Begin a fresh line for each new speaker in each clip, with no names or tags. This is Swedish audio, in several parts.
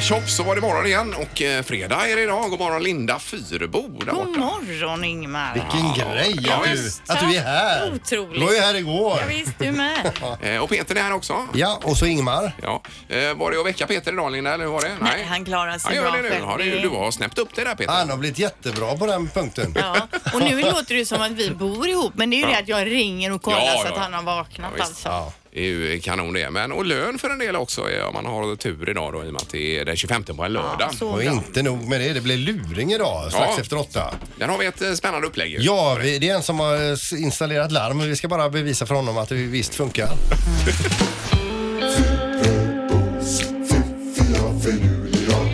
Tjoff så var det morgon igen och eh, fredag är det idag. God morgon Linda Fyrebo där
God
borta.
morgon Ingmar.
Vilken grej
ja,
att, du,
visst.
att du är här.
Otroligt.
Du var ju här igår.
Ja, visst, du med.
Eh, Och Peter är här också.
Ja, och så Ingmar.
Ja. Eh, Var det att väcka Peter idag Linda eller hur var det?
Nej, han klarar sig
ja,
bra
det nu.
själv.
Ja, det, du har snäppt upp det där Peter.
Han har blivit jättebra på den punkten.
Ja. Och nu låter det som att vi bor ihop men det är ju det att jag ringer och kollar
Ja,
så att
ja.
han har vaknat
Ja, visst.
alltså.
Ja.
Det är ju kanon det. Men, och lön för en del också eh, om man har tur idag då i och med att det är den 25 på en lördag.
så
Och
bra.
inte nog med det, det blir luring idag strax
Ja.
efter åtta.
Den har vi ett eh, spännande upplägg ju.
Ja, vi- det är en som har eh, s- installerat larm och vi ska bara bevisa för honom att det visst funkar.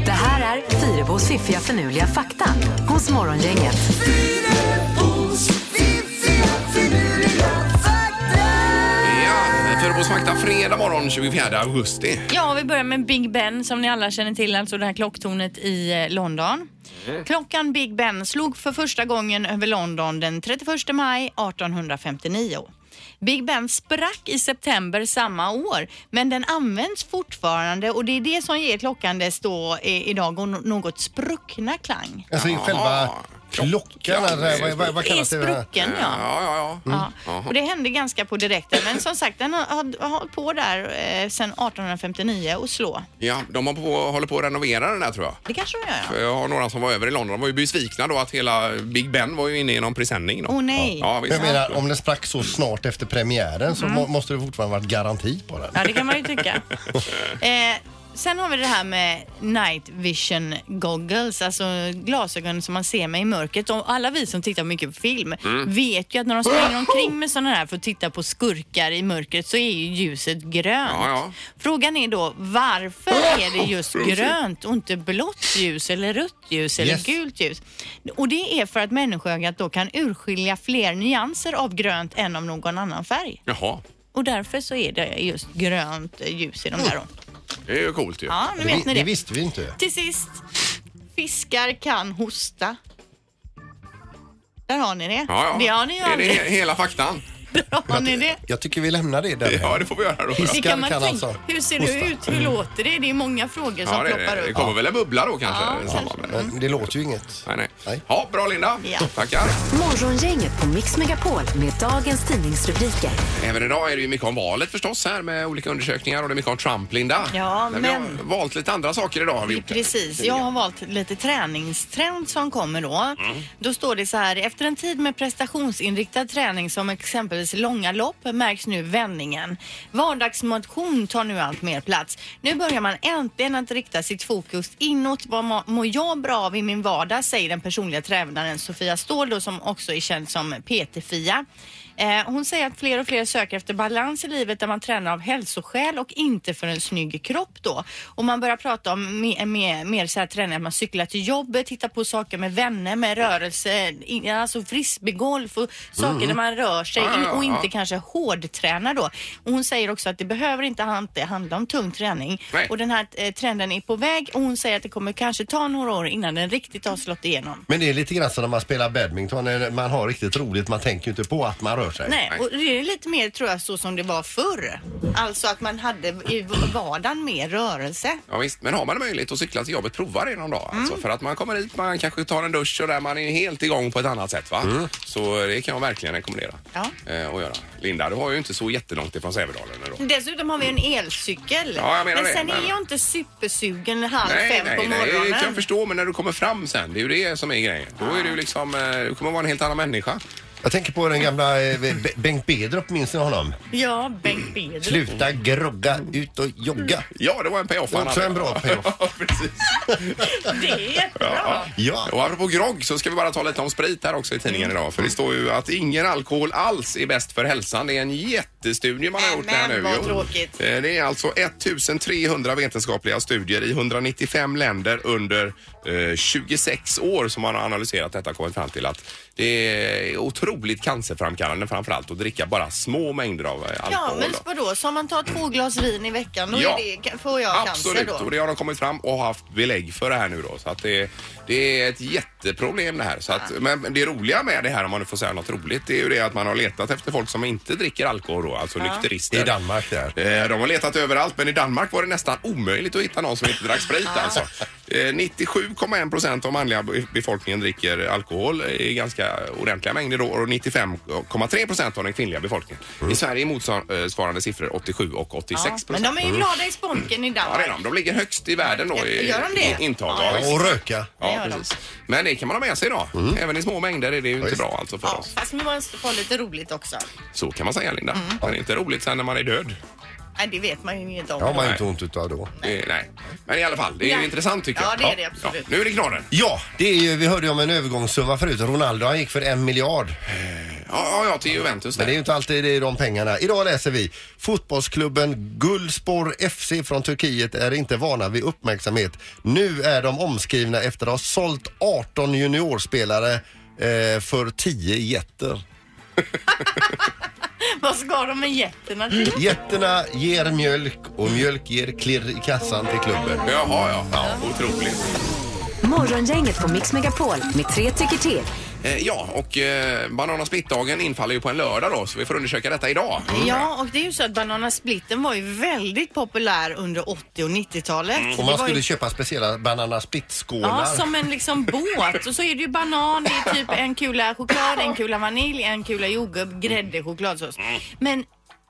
Det här är Fyrabos fiffiga förnuliga fakta hos Morgongänget.
Ja, Fyrabos fakta fredag morgon 24 augusti.
Ja, vi börjar med Big Ben som ni alla känner till, alltså det här klocktornet i eh, London.
Mm.
Klockan Big Ben slog för första gången över London den 31 maj 1859. Big Ben sprack i september samma år, men den används fortfarande och det är det som ger klockan dess då eh, idag och no- något spruckna klang.
Alltså
Jaha.
själva klockan,
Klockan.
eller vad, vad, vad
Är
kallas det? Mm.
sprucken, ja.
Ja, ja, Mm. ja.
Ja. Och det hände ganska på direkten, men som sagt den har, har har hållit på där eh, sedan 1859 och slå.
ja de har på, håller på att renovera den här tror jag.
Det kanske de gör. ja.
Jag Eh, har några som var över i London. De var ju besvikna då att hela Big Ben var ju inne i någon presenning. Då.
Åh, nej.
Ja, visst.
Jag menar, om den sprack så snart efter premiären så må, måste det fortfarande varit garanti på den.
Mm. Ja, det kan man ju tycka. Eh, sen har vi det här med night vision goggles, alltså glasögon som man ser med i mörkret. Och alla vi som tittar mycket på film
Mm.
vet ju att när de springer omkring med sådana här för att titta på skurkar i mörkret så är ju ljuset grönt.
Ja, ja.
Frågan är då varför är det just grönt och inte blått ljus eller rött ljus eller
Yes.
gult ljus? Och det är för att människoögat då kan urskilja fler nyanser av grönt än av någon annan färg.
Jaha,
Och därför så är det just grönt ljus i de där. då.
det är ju coolt ju.
Ja, nu vet ni
det
det.
visste vi inte.
Till sist, fiskar kan hosta. Där har ni det.
Ja, ja.
Det har ni ju
är det
aldrig.
he- hela faktan?
Där har ni det.
Jag tycker vi lämnar det där.
Ja, det får vi göra då.
Fisk.
Det kan man
kan
tänka.
alltså
Hur ser det
hosta.
ut? Hur låter det? Det är många frågor som
Ja, det,
ploppar
det, det
upp.
kommer väl en bubbla då kanske?
Ja,
i samband med det.
Men det låter ju inget.
Nej, nej.
Nej.
Ja, bra Linda.
Ja.
Tackar.
Morgongänget på Mix Megapol med dagens tidningsrubriker.
Även idag är det ju mycket om valet förstås här med olika undersökningar och det är mycket om Trump, Linda.
Ja,
vi
men-
har valt lite andra saker idag har vi gjort.
Precis. Jag har valt lite träningstrend som kommer då.
Mm.
Då står det så här. Efter en tid med prestationsinriktad träning som exempelvis långa lopp märks nu vändningen. Vardagsmotion tar nu allt mer plats. Nu börjar man äntligen att rikta sitt fokus inåt. Vad ma- mår jag bra av i min vardag? Säger den personliga tränaren Sofia Ståhl då, som också är känd som PT-Fia. Eh, Hon säger att fler och fler söker efter balans i livet där man tränar av hälsoskäl och inte för en snygg kropp då. Och man börjar prata om mer, mer, mer så här träning, att man cyklar till jobbet, tittar på saker med vänner, med rörelse, i- alltså frisbeegolf och saker där man rör sig
Mm. Ja, ja, ja,
och inte
ja.
kanske hårdtränar då. Och hon säger också att det behöver inte han- det handla om tung träning
Nej.
och den här eh, trenden är på väg och hon säger att det kommer kanske ta några år innan den riktigt har slått igenom.
Men det är lite grann som när man spelar badminton. när Man har riktigt roligt, man tänker ju inte på att man rör sig.
Nej, och det är lite mer tror jag så som det var förr. Alltså att man hade i vardagen mer rörelse.
Ja, visst. Men har man möjlighet att cykla till jobbet, prova det någon dag. Alltså,
Mm.
för att man kommer dit, man kanske tar en dusch och där man är helt igång på ett annat sätt. Va? Så det kan jag verkligen rekommendera
Mm. Ja.
eh, att göra. Linda, du har ju inte så jättelångt ifrån Sävedalen ändå.
Dessutom har vi en elcykel.
Ja, jag menar
men
det,
sen
men-
är jag inte supersugen halv
Nej,
fem
nej,
på
nej,
morgonen.
det kan jag förstå. Men när du kommer fram sen, det är ju det som är grejen. Då är du liksom, eh, du kommer vara en helt annan människa.
Jag tänker på den gamla eh, B- Bengt Bedrup, minns ni honom?
ja, Bengt Bedrup.
Sluta grogga, ut och jogga.
Ja, det var en payoff
Det var också en bra payoff.
Mm. Ja, precis.
Det är jättebra.
Ja,
Och apropå grogg så ska vi bara ta lite om sprit här också i tidningen
Mm.
idag. För det står ju att ingen alkohol alls är bäst för hälsan. Det är en jättestudie man har gjort här
Nämen,
nu.
vad
Jo.
tråkigt.
Eh, Det är alltså 1300 vetenskapliga studier i 195 länder under eh, 26 år som man har analyserat detta och kommit fram till att det är otroligt otroligt cancerframkallande framförallt att dricka bara små mängder av eh,
Ja,
alkohol.
men
då.
vadå? Så om man tar två glas vin i veckan, då
Ja.
är det, får jag
Absolut,
cancer
och
då?
det har de kommit fram och haft belägg för det här nu då. Så att det, det är ett jätteproblem det här. Så att, men det roliga med det här, om man nu får säga något roligt, det är ju det att man har letat efter folk som inte dricker alkohol då, alltså nykterister.
I Danmark där.
Eh, De har letat överallt, men i Danmark var det nästan omöjligt att hitta någon som inte drack sprit. Alltså. Eh, 97,1 procent av manliga be- befolkningen dricker alkohol i ganska ordentliga mängder då, och 95,3 procent av den kvinnliga befolkningen.
Mm.
I Sverige är motsvarande siffror 87 och 86
Ja,
procent.
men de är ju glada i sponken i
Ja, det
Danmark.
är de. De ligger högst i världen då i
Gör de det?
i intag.
Ja,
Ja,
Och röka.
det
ja,
gör de.
precis. Men det kan man ha med sig idag. Även i små mängder är det ju inte
Mm. visst.
bra alltså för
Ja,
oss.
fast man måste få lite roligt också.
Så kan man säga Linda.
Mm.
Men det är inte roligt sen när man är död.
Nej, det vet man ju inget om.
Det har man ju inte ont utav då.
Eh, nej. Men i alla fall, det är ju
Ja.
intressant tycker
Ja,
jag.
det är det, absolut.
Nu är det knorren.
Ja, det är ju, vi hörde ju om en övergångssumma förut. Ronaldo han gick för en miljard.
Ja, ja, ja till Juventus
Men det är
där.
ju inte alltid det är de pengarna. Idag läser vi fotbollsklubben Gulspor FC från Turkiet är inte vana vid uppmärksamhet. Nu är de omskrivna efter att ha sålt 18 juniorspelare eh, för 10 jätter.
Vad ska de med jätterna till?
Jätterna ger mjölk och mjölk ger klirr i kassan till klubben.
Jaha, ja. ja. Otroligt.
Morgongänget på Mix Megapol med tre tycker till.
Eh, ja, och eh, Banana Split-dagen infaller ju på en lördag då, så vi får undersöka detta idag.
Ja, och det är ju så att Banana Splitten var ju väldigt populär under 80 och 90-talet.
Mm.
Och
Det
man
var
skulle
ju-
köpa speciella Banana Split-skålar.
Ja, som en liksom båt. Och så är det ju banan, det är typ en kula choklad, en kula vanilj, en kula jordgubb, grädde, chokladsås.
Mm.
Men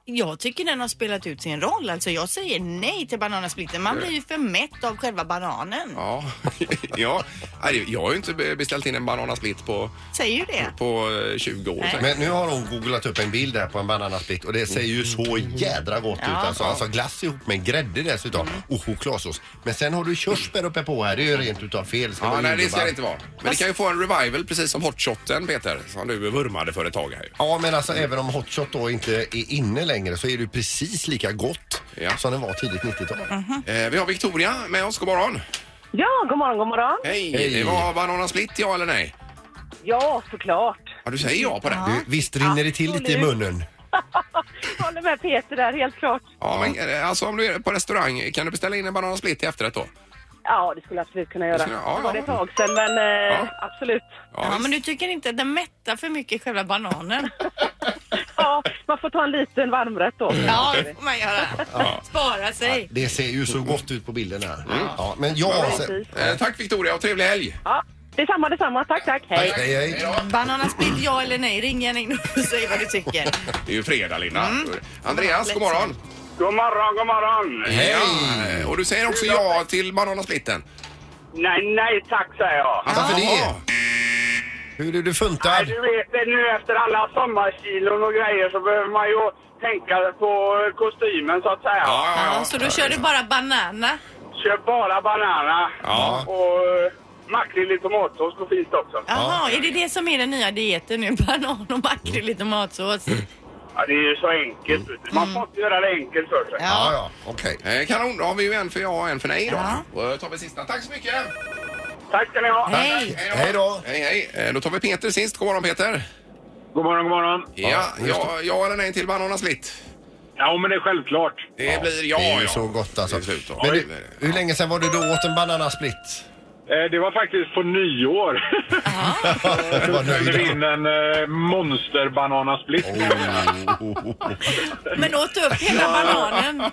jag tycker den har spelat ut sin roll. Alltså jag säger nej till bananasplitten. Man blir ju för mätt av själva bananen.
Ja, ja. Nej, jag har ju inte be- beställt in en Banana Split på,
Säger ju det.
på eh, 20 år.
Nej.
säkert.
Men nu har hon googlat upp en bild här på en bananasplit och det ser ju så jädra gott ut.
Ja.
Alltså, alltså glass ihop med grädde dessutom och chokladsås. Men sen har du körsbär uppe på här. Det är ju rent utav fel. Ska
Ja,
vara
nej, det ska
jordgubbar.
det inte vara. Men det kan ju få en revival precis som hotshoten, Peter, som du vurmade för ett tag här. ju.
Ja, men alltså även om hot shot då inte är inne längre så är det ju precis lika gott
Ja.
som det var tidigt 90-tal.
Eh, vi har Victoria med oss. God morgon.
Mm. Ja, god morgon, god morgon.
Hej!
Hej.
Det var Banana Split, ja eller nej?
Ja, såklart.
Ja, du säger ja på den. Ja,
Du, visst rinner det till lite i
Absolut.
munnen?
Jag håller med Peter där, helt klart.
men eh, alltså om du är på restaurang, kan du beställa in en Banana Split till efterrätt då?
Ja, det skulle jag absolut kunna göra.
Det skulle jag- ja,
Det var det
ja.
ett tag sedan, men eh,
Ja.
absolut.
Ja, men
visst.
du tycker inte att den mättar för mycket själva bananen?
Ja, man får ta en liten varmrätt då.
Mm.
Ja, det får man göra. Spara sig.
Det ser ju så gott ut på bilden här.
Mm.
Ja, men ja,
Ja,
sen,
precis.
eh, tack Victoria och trevlig helg!
Ja, detsamma, detsamma. Tack, tack. Hej.
hej, hej, hej.
Bananasplitt, ja eller nej? Ring gärna in och säg vad du tycker.
Det är ju fredag, Linda.
Mm.
Andreas, god morgon!
God morgon, god morgon!
Hej! Ja, och du säger också ja till Banana Splitten?
Nej, nej tack säger jag.
Varför det?
Jaha.
Hur är du
Nej,
funtad?
du vet nu efter alla sommarkilon och grejer så behöver man ju tänka på kostymen så att säga.
Ja, ja, ja.
Ja, så då kör du bara banana.
Kör bara banana
Ja.
och uh, makrill i tomatsås går fint också.
Jaha, är det det som är den nya dieten nu? Banan och makrill i tomatsås.
Ja, det är ju så enkelt. vet du. Man får inte göra det enkelt för sig.
Ja, ja, okej.
Eh, Kanon, då har vi ju en för ja och en för nej då.
Ja.
Då tar vi sista. Tack så mycket!
Tack ska ni ha!
Hej!
Hej då.
Hej, hej! Eh, Då tar vi Peter sist. God morgon Peter!
God morgon, god morgon!
Ja, ja, ja eller nej till Banana Split?
Ja, men det är självklart.
Det blir ja.
Det är ju
ja.
så gott alltså.
Det är slut då.
Men
Ja,
du, hur länge sedan var du då åt en bananasplitt?
Eh, Det var faktiskt på nyår.
Vad
Jag
nöjd.
in en eh, monsterbananasplit.
Men åt du upp hela bananen?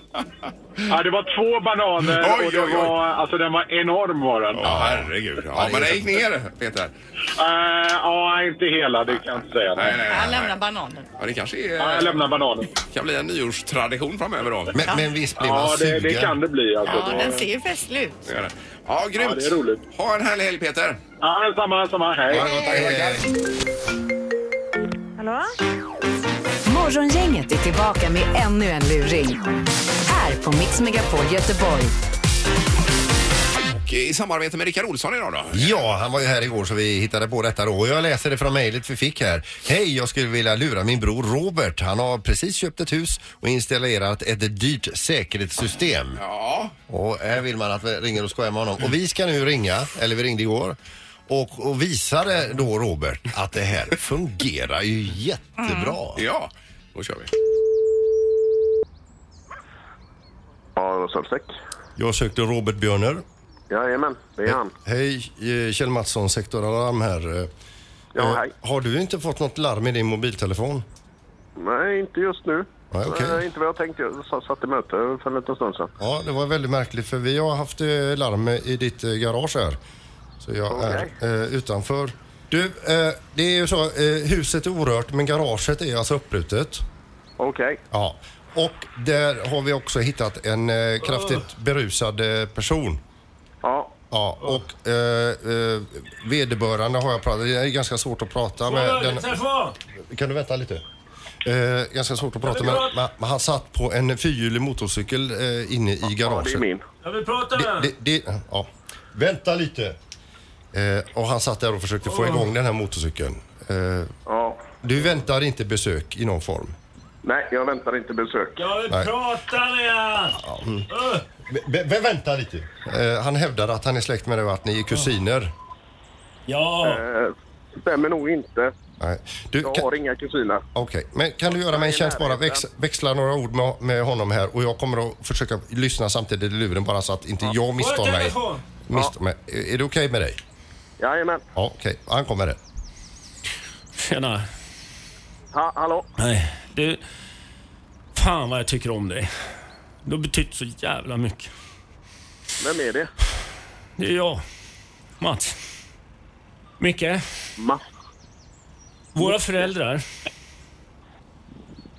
Ja, det var två bananer
Oj,
och det
oj, oj.
var, alltså den var enorm var den.
Ja, herregud. Ja, men det gick ner, Peter.
Eh, ja, inte hela, det kan jag inte säga.
Nej, nej,
Jag
nej.
lämnar bananen.
Ja, det kanske
Ja, jag
är,
lämnar bananen.
kan bli en nyårstradition framöver då.
Men, men visst blir man
Ja, det,
sugen?
det kan det bli. Alltså.
Ja, den ser ju festlig ut.
Ja, grymt.
Ja, det är roligt.
Ha en härlig helg, Peter.
Ja, samma, samma. Hej.
Eh,
Hallå?
Morgongänget är tillbaka med ännu en luring. Här på Mix Megapol Göteborg.
Och i samarbete med Rickard Olsson idag då.
Ja, han var ju här igår så vi hittade på detta då. Och jag läser det från mejlet vi fick här. Hej, jag skulle vilja lura min bror Robert. Han har precis köpt ett hus och installerat ett dyrt säkerhetssystem.
Ja,
Och här vill man att vi ringer och skojar med honom. Och vi ska nu ringa, eller vi ringde igår och, och visade då Robert att det här fungerar ju jättebra.
Ja, då kör vi.
Ja, Rosalsäck.
Jag sökte Robert Björner.
Jajamän, det är han.
Hej, eh, Kjell Mattsson, Sektor Alarm här. Eh,
Ja, hej.
Har du inte fått något larm i din mobiltelefon?
Nej, inte just nu.
Nej, okej.
Nej, inte vad jag tänkte. Jag sa- satt i möte för en liten stund sedan.
Ja, det var väldigt märkligt för vi har haft eh, larm i ditt eh, garage här. Så jag
Okej.
är eh, utanför. Du, eh, det är ju så, eh, huset är orört men garaget är alltså upprutet.
Okej.
Ja. Och där har vi också hittat en eh, kraftigt berusad eh, person.
Ja.
Ja, och eh, eh, vederbörande har jag pratat, det är ganska svårt att prata med. Den,
Telefon!
kan du vänta lite? Eh, ganska svårt att prata med, men- men han satt på en fyrhjulig motorcykel eh, inne i garaget.
ja, det är min.
Jag vill prata med
Det, det, ja. Vänta lite. Eh, och han satt där och försökte få igång den här motorcykeln. Eh,
Ja.
du väntar inte besök i någon form?
Nej, jag väntar inte besök.
Jag vill
Nej.
prata med han! Öh,
vänta lite. Eh, han hävdar att han är släkt med dig och att ni är kusiner.
Ja,
Eh, Stämmer nog inte.
Nej. Du,
Jag
kan,
har inga kusiner.
okej. Men kan du göra mig en tjänst bara? Väx, växla några ord med, med honom här och jag kommer att försöka lyssna samtidigt i luren bara så att inte jag
får
misstar
jag
mig.
telefon?
Misstar mig. Är är det okej med dig?
Jajamän.
Ja, okej. Han kommer här.
Tjena.
Ha, hallå?
Nej, du... Fan vad jag tycker om dig. Du har betytt så jävla mycket.
Vem är det?
Det är jag. Mats. Micke.
Ma.
Våra föräldrar.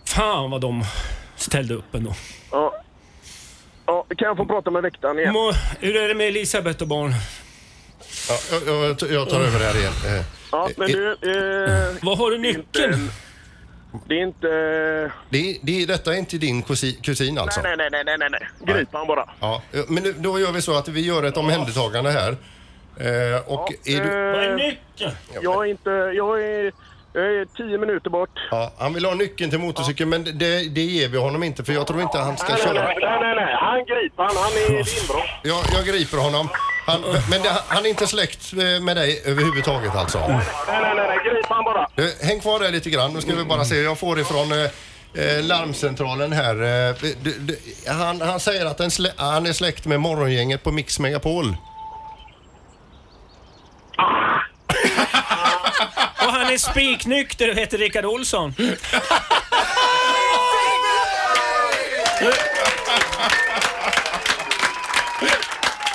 Fan vad de ställde upp ändå.
Ja. Ja, kan jag få prata med väktaren igen?
Må, hur är det med Elisabeth och barn?
Ja, jag, jag, jag tar över här igen. Eh,
Ja, men du... Eh,
Vad har du
det är inte
nyckeln?
en- Det är inte... eh,
Det, det, detta är inte din kusin, kusin alltså?
Nej, nej, nej, nej, nej, nej. Grip han bara.
Ja, eh, men nu, då gör vi så att vi gör ett omhändertagande här. Eh, och är du,
Vad är
Eh,
nyckeln?
jag är inte... Jag är, jag är tio minuter bort.
ja, han vill ha nyckeln till motorcykeln men det, det ger vi honom inte för jag tror inte han ska köra.
nej, nej, nej. Han griper han. Han är i inbrott.
Jag, jag griper honom. Han, men det, han är inte släkt eh, med dig överhuvudtaget alltså?
Nej, nej, nej, nej. Grip han bara.
Du, Eh, häng kvar där lite grann. Nu ska vi bara se. Jag får ifrån eh, eh, larmcentralen här. Eh, du, du, han, han säger att en slä, han är släkt med morgongänget på Mix Megapol.
Och han är spiknykter och heter Rickard Olsson.
Mm.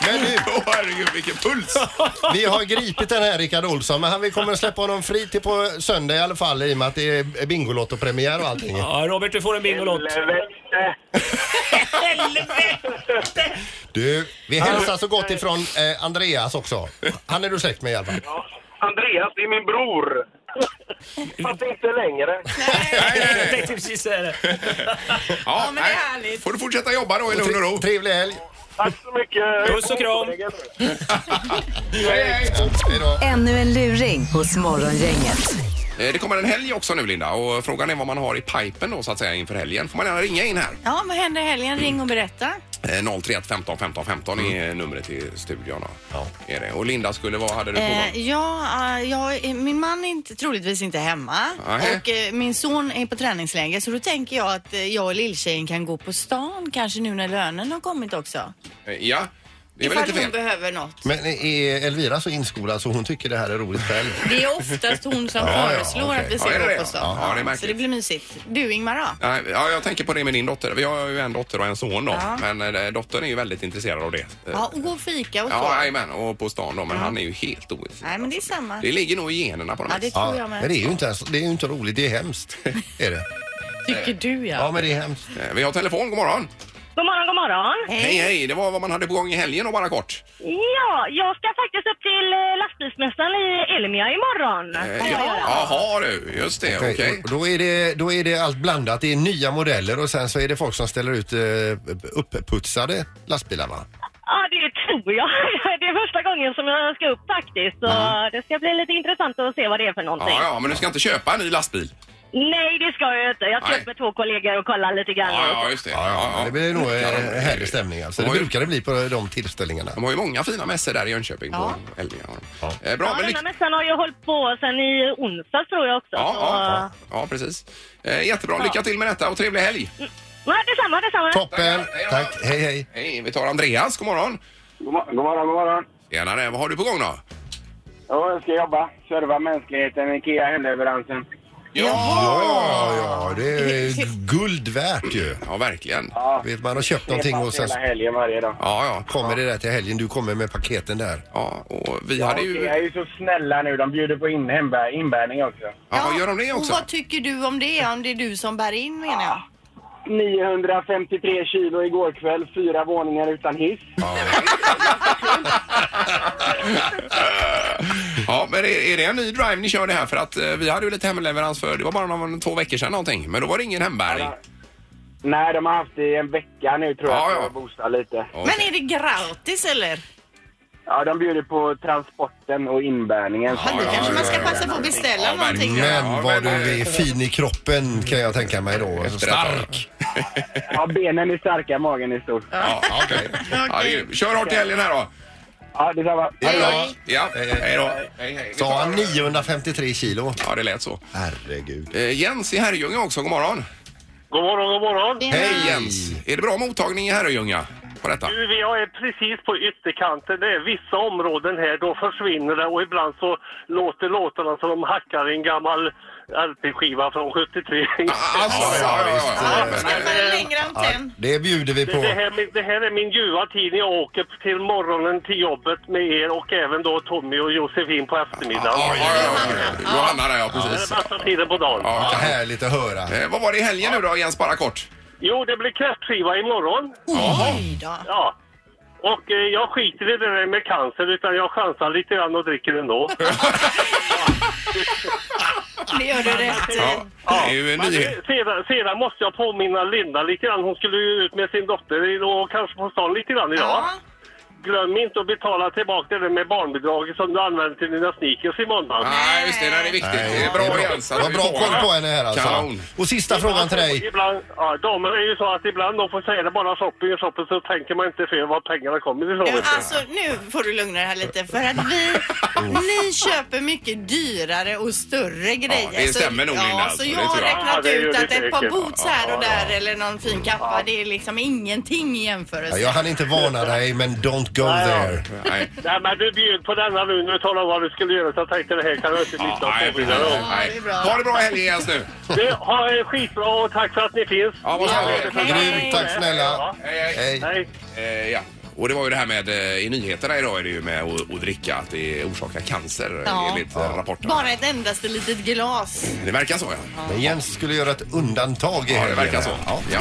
Men du,
Åh herregud, vilken puls!
Vi har gripit den här Rickard Olsson, men han, vi kommer att släppa honom fri till på söndag i alla fall i och med att det är Bingolotto-premiär och allting.
Ja, Robert, du får en Bingolott.
Eh, Helvete.
Helvete!
Du, vi hälsar så gott ifrån eh, Andreas också. Han är du släkt med i alla fall.
Ja. Andreas, det är min bror. Fast inte längre.
Jag tänkte precis säga det.
Ja,
men det är
nej.
härligt.
Får du fortsätta jobba då i lugn och
Tre,
ro.
trevlig helg!
Tack så mycket.
Puss och kram.
Hej, hej.
Hej då.
Ännu en luring hos Morgongänget.
Eh, Det kommer en helg också nu Linda och frågan är vad man har i pipen då så att säga inför helgen. Får man gärna ringa in här.
Ja, vad händer i helgen? Ring och berätta.
Eh, 031 15 15 15 är eh, numret till studion. då.
Mm. Ja.
Är det. Och Linda skulle, vad hade du på gång?
Eh, ja, eh, jag, eh, min man är inte, troligtvis inte hemma
Nej.
och eh, min son är på träningsläger så då tänker jag att eh, jag och lilltjejen kan gå på stan kanske nu när lönen har kommit också.
Eh, Ja, det är väl
Ifall
inte
hon
fel.
behöver något.
Men är Elvira så inskolad så hon tycker det här är roligt själv?
Det är oftast hon som
ja,
föreslår
okej.
att
Ja,
vi
är
ska
det
gå
det?
på stan.
Ja, det är
så
märkligt.
det blir mysigt. Du Ingmar då?
Nej, Ja, jag tänker på det med din dotter. Vi har ju en dotter och en son då.
Ja.
Men eh, dottern är ju väldigt intresserad av det. Eh,
Ja, och gå och fika och så.
Ja, jajamän, och på stan då. Men han är ju helt ointresserad.
Nej, men det är samma.
Det ligger nog i generna på något
Ja, det
vis.
tror jag
men
med.
det är ju inte, ens, det är ju inte roligt, det är hemskt. Är det?
Tycker du
Ja, men det är hemskt.
Eh, Vi har telefon, god morgon.
God morgon, god morgon.
Hej, hej. Det var vad man hade på gång i helgen och bara kort.
Ja, jag ska faktiskt upp till eh, lastbilsmästaren i Elmia imorgon.
Eh, ja. Jaha du, just det. Okej.
Okej, och Då, är det, då är det allt blandat. Det är nya modeller och sen så är det folk som ställer ut eh, upputsade lastbilar va?
Ja, det tror jag. Det är första gången som jag ska
Mm.
upp faktiskt. Så det ska bli lite intressant att se vad det är för någonting.
Ja, ja, men du ska inte köpa en ny lastbil.
Nej, det ska jag inte. Jag ska
Nej.
upp med två kollegor och kolla lite grann.
Ja, ja, just det. Ja, ja. Mm.
Det blir nog eh, härlig stämning alltså.
De
Det
har ju-
brukar det bli på de tillställningarna.
De har ju många fina mässor där i Jönköping
Ja.
på Elmia.
Ja.
Eh, bra,
Ja,
men
den här
lyck-
mässan har ju hållit på sen i onsdags tror jag också.
ja,
så...
ja, ja, ja, precis. Eh, jättebra, lycka till med detta och trevlig helg.
Nej, detsamma, detsamma.
Toppen!
Tackar, hej då.
Tack, hej hej.
Hej, vi tar Andreas, god morgon.
God mo- god morgon, god morgon.
Tjenare, vad har du på gång då?
Ja, jag ska jobba. Serva mänskligheten, IKEA hemleveransen.
ja,
Ja, ja, det är guld värt ju.
ja verkligen.
Vet man har köpt någonting och sen
Hela helgen varje dag.
Ja, ja.
kommer det där till helgen. Du kommer med paketen där.
ja och vi
Ja,
hade ju...
de är ju så snälla nu. De bjuder på in, hembär, inbärning också.
Ja, gör de det
Och
också?
vad tycker du om det? Om det är du som bär in menar jag.
953 kilo igår kväll, fyra våningar utan hiss.
Ja, men är, är det en ny drive ni kör det här? För att eh, vi hade ju lite hemleverans för, det var bara någon, två veckor sedan någonting. Men då var det ingen hembäring.
Nej, de har haft det i en vecka nu tror jag,
Ja,
ja,
ja.
för att boosta lite.
Okej.
Men är det gratis eller?
Ja, de bjuder på transporten och inbärningen.
Ja, då
ja,
kanske
ja,
man ska
ja,
passa på att beställa
Ja,
någonting.
verkligen.
då.
Ja,
Men vad
men-
du är fin i kroppen kan jag tänka mig då.
Efter detta.
Stark!
Ja, benen är starka, magen är stor.
Ja, okej. Ja, det är- Kör hårt i helgen här då.
Ja, detsamma.
Hej
Hej.
Ja, hej då. Hej, hej. Vi
Sa han
tar-
953 kilo?
Ja, det lät så.
Herregud.
Eh, Jens i Herrljunga också, god morgon.
God morgon, god morgon.
Hej Jens! Är det bra mottagning i Herrljunga på detta?
Du, Vi är precis på ytterkanten. Det är vissa områden här, då försvinner det och ibland så låter låtarna som de hackar i en gammal LP-skiva från 73.
Alltså, ja, ja, ja,
Ja, Skaffa en längre antenn.
Det bjuder vi
Det, det,
på.
här, min- det här är min ljuva tid när jag åker till morgonen till jobbet med er och även då Tommy och Josefin på eftermiddagen.
Ja, ja, ja, ja. Johanna där, ja
Det är
precis.
bästa tiden på dagen.
Ja,
Ja,
okej.
härligt att höra.
Eh, Vad var det i helgen nu då Jens, bara kort?
Jo, det blir kräftskiva imorgon.
Oj då.
Ja. Och eh, jag skiter i det där med cancer utan jag chansar lite grann och dricker ändå.
Det gör du rätt i.
Ja, det är ju en
Men
nyhet.
eh, sedan, sedan måste jag påminna Linda lite grann. Hon skulle ju ut med sin dotter i- och kanske på stan lite grann idag.
Ja.
Glöm inte att betala tillbaka det där med barnbidraget som du använde till dina sneakers i måndags.
Nej, just det. Nej, det är viktigt. Det är bra Jens. att
Vad
vi
bra
får
koll
det.
på henne här alltså.
Kanon.
Och sista frågan till dig.
Alltså, Ibland, ja, damer är ju så att ibland de får säga det bara shopping och shopping så tänker man inte fel var pengarna kommer ifrån.
Ja, Alltså nu får du lugna dig här lite för att vi, ni köper mycket dyrare och större grejer.
det stämmer nog,
så,
Linda,
Ja,
alltså.
så
Det
jag
tror
har
jag.
Ja,
räknat
det är ju
ut att
lite
ett par
mycket.
boots här och där eller någon fin kappa det är liksom ingenting i jämförelse.
Ja, Jag hann inte varna dig, men don't go there.
Nej.
Nej men du bjöd på denna nu när du talade om vad du skulle göra så jag tänkte det här kan jag inte
Ja,
lyssna och
nej,
påminna dig om.
nej. Ha det bra helg Jens nu.
Du, ha det skitbra och tack för att ni finns.
Ja, vad härligt.
Ja,
Grymt, tack snälla.
Hej, hej.
Hej.
Hej.
Eh, ja. Och det var ju det här med eh, i nyheterna idag är det ju med att, att dricka att det orsakar cancer
Ja.
enligt ja. rapporten.
Bara ett endaste litet glas.
Det verkar så ja.
Men Jens skulle göra ett undantag i
Ja, det
helgen.
verkar
här.
så.
Ja.
Ja.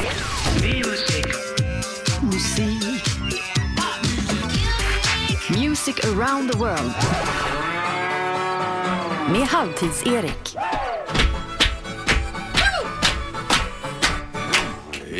Music around the world. Med Halvtids-Erik.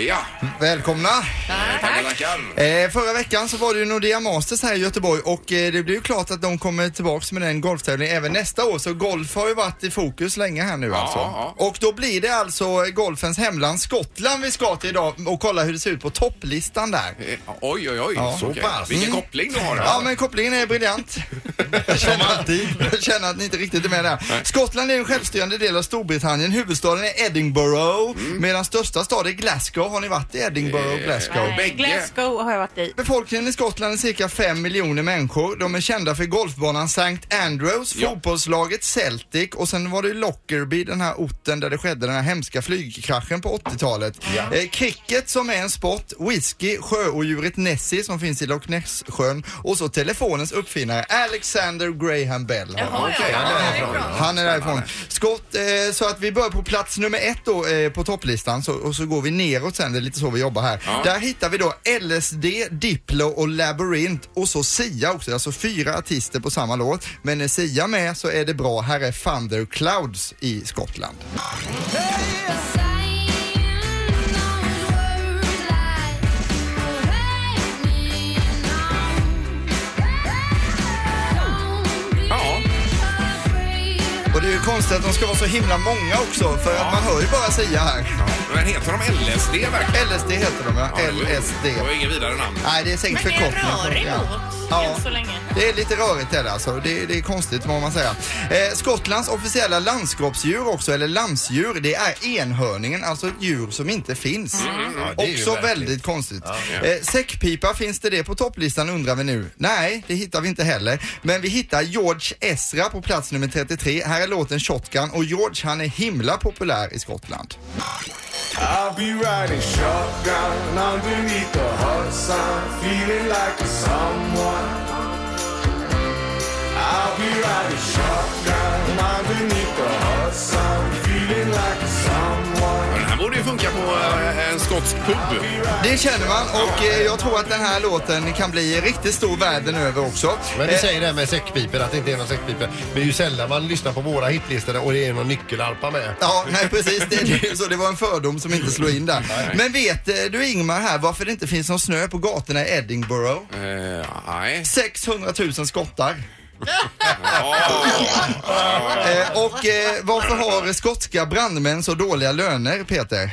ja.
Välkomna!
Tackar, tackar.
Eh, förra veckan så var det ju Nordea Masters här i Göteborg och eh, det blir ju klart att de kommer tillbaks med den golftävlingen även nästa år. Så golf har ju varit i fokus länge här nu alltså.
ja.
Och då blir det alltså golfens hemland Skottland vi ska till idag och kolla hur det ser ut på topplistan där.
Eh, Oj, oj, oj.
Ja.
Så
Okej.
pass. Vilken
Mm.
koppling du har.
Ja men kopplingen är briljant. Jag känner, att, jag känner att ni inte riktigt är med där. Skottland är en självstyrande del av Storbritannien. Huvudstaden är Edinburgh
Mm.
medan största stad är Glasgow. Har ni varit i
Eh,
Edinburgh och Glasgow?
Nej. Bägge.
Glasgow har jag varit i.
Befolkningen i Skottland är cirka 5 miljoner människor. De är kända för golfbanan St. Andrews,
Ja.
fotbollslaget Celtic och sen var det ju Lockerbie, den här orten där det skedde den här hemska flygkraschen på 80-talet. Eh, cricket som är en sport, whisky, sjöodjuret Nessie som finns i Loch Ness-sjön och så telefonens uppfinnare Alexander Graham Bell.
Jaha, ja, ja, det är bra.
Han är därifrån. Skott, eh, så att vi börjar på plats nummer ett då eh, på topplistan så, och så går vi neråt sen, det är lite så vi jobbar här. Där hittar vi då LSD, Diplo och Labyrinth och så Sia också, alltså fyra artister på samma låt. Men är Sia med så är det bra. Här är Thunderclouds i Skottland.
Ja.
Och det är
ju konstigt att de ska vara så himla många också för att man hör ju bara Sia här.
Men heter de LSD verkligen?
LSD heter de ja.
Ja, det var ju-
LSD.
Det var ju ingen vidare namn.
Nej, det är säkert
Men det är en
förkortning.
rörig låt
Ja.
än så länge.
Det är lite rörigt är det alltså. Det, det är konstigt må man säga. Eh, Skottlands officiella landskapsdjur också, eller landsdjur, det är enhörningen. Alltså ett djur som inte finns.
Mm-hmm.
Ja, det är ju
också
märkligt.
väldigt konstigt. Eh, säckpipa, finns det det på topplistan undrar vi nu. Nej, det hittar vi inte heller. Men vi hittar George Ezra på plats nummer 33. Här är låten Shotgun och George han är himla populär i Skottland.
I'll be riding shotgun underneath the hot sun, feeling like a someone. I'll be riding shotgun underneath the hot sun, feeling like a someone.
Men Den här borde ju funka på eh, en skotsk pub.
Det känner man och eh, jag tror att den här låten kan bli riktigt stor världen över också.
Men du
Eh,
säger det här med säckpipor, att det inte är någon säckpipor. Det är ju sällan man lyssnar på våra hitlistor och det är någon nyckelharpa med.
Ja, nej precis. Det, det, är ju så det var en fördom som inte slog in där. Men vet eh, du Ingmar här varför det inte finns någon snö på gatorna i Edinburgh?
Eh, nej.
600 000 skottar.
Ja.
Eh, och eh, varför har skotska brandmän så dåliga löner, Peter?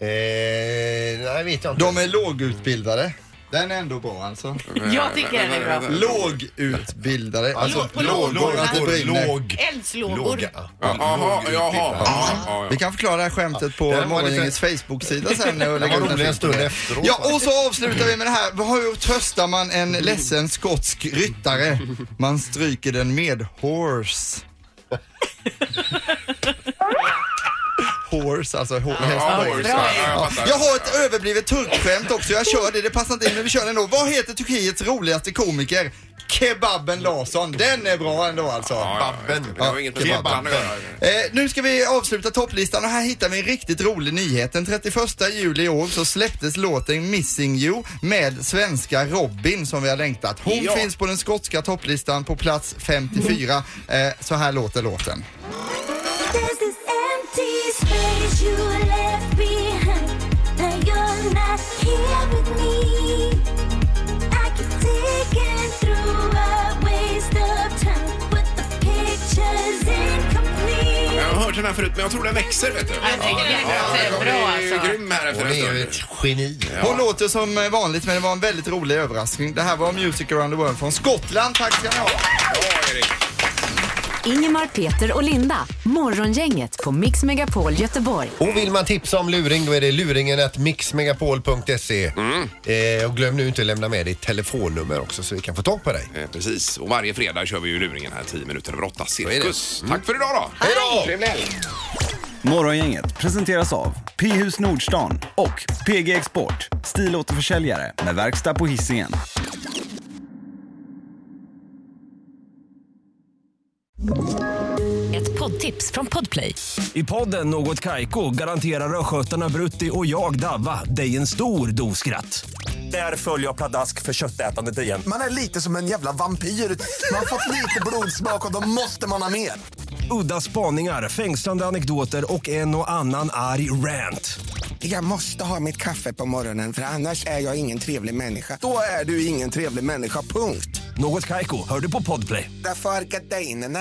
Eh, nej, vet jag inte.
De är lågutbildade. Den är ändå bra alltså.
Jag tycker den är bra.
Lågutbildade. Alltså,
Låg på lågor,
att det
lågor,
brinner.
Eldslågor.
Jaha, jaha. Ja,
Vi
ja.
kan förklara det här skämtet
Den
på
var
Morgongängets Facebook-sida sen. när jag
var
lägger upp den
rolig en stund
filmen.
efteråt,
Ja, och så avslutar vi med det här. Hur tröstar man en ledsen skotsk ryttare? Man stryker den med horse. Horse, alltså hår,
Ja,
hästar.
horse, ja, jag
Ja.
fattar.
Jag har ett överblivet turkskämt också. Jag kör det, det passar inte in men vi kör det ändå. Vad heter Turkiets roligaste komiker? Kebaben Larsson. Den är bra ändå alltså.
Ja, ja, just det. Det har inget med
Kebab.
Babban att göra.
Eh, nu ska vi avsluta topplistan och här hittar vi en riktigt rolig nyhet. Den 31 juli i år så släpptes låten Missing You med svenska Robin som vi har längtat. Hon
Ja.
finns på den skotska topplistan på plats 54. Eh, så här låter låten.
There's this empty space you left behind. Now you're not here with me. I keep digging through a waste of time, but the picture's incomplete.
Jag har hört den här förut, men jag tror den växer, vet du.
Jag tycker den växer
den
bra,
blir ju
alltså.
grym här efter
Hon
en
är ju
stund.
ett geni.
Hon låter som eh, vanligt men det var en väldigt rolig överraskning. Det här var Music around the world från Skottland. Tack ska ni ha.
Ja, Erik.
Ingemar, Peter och Linda. Morgongänget på Mix Megapol Göteborg.
Och vill man tipsa om luring då är det luringen att mixmegapol.se.
Mm.
Eh, och glöm nu inte att lämna med ditt telefonnummer också så vi kan få tag på dig.
Eh, Precis, och varje fredag kör vi ju luringen här 10 minuter över 8. Cirkus. Tack för idag då!
Hej då!
Trevlig helg!
Morgongänget presenteras av P-hus Nordstan och PG Export, stilåterförsäljare med verkstad på Hisingen.
Ett poddtips från Podplay.
I podden Något Kaiko garanterar östgötarna Brutti och jag, Davva, dig en stor dos skratt. Där följer jag pladask för köttätandet igen.
Man är lite som en jävla vampyr. Man har fått lite blodsmak och då måste man ha mer.
Udda spaningar, fängslande anekdoter och en och annan arg rant.
Jag måste ha mitt kaffe på morgonen för annars är jag ingen trevlig människa. Då är du ingen trevlig människa, punkt.
Något Kaiko, hör du på Podplay.
Därför arkadeinerna.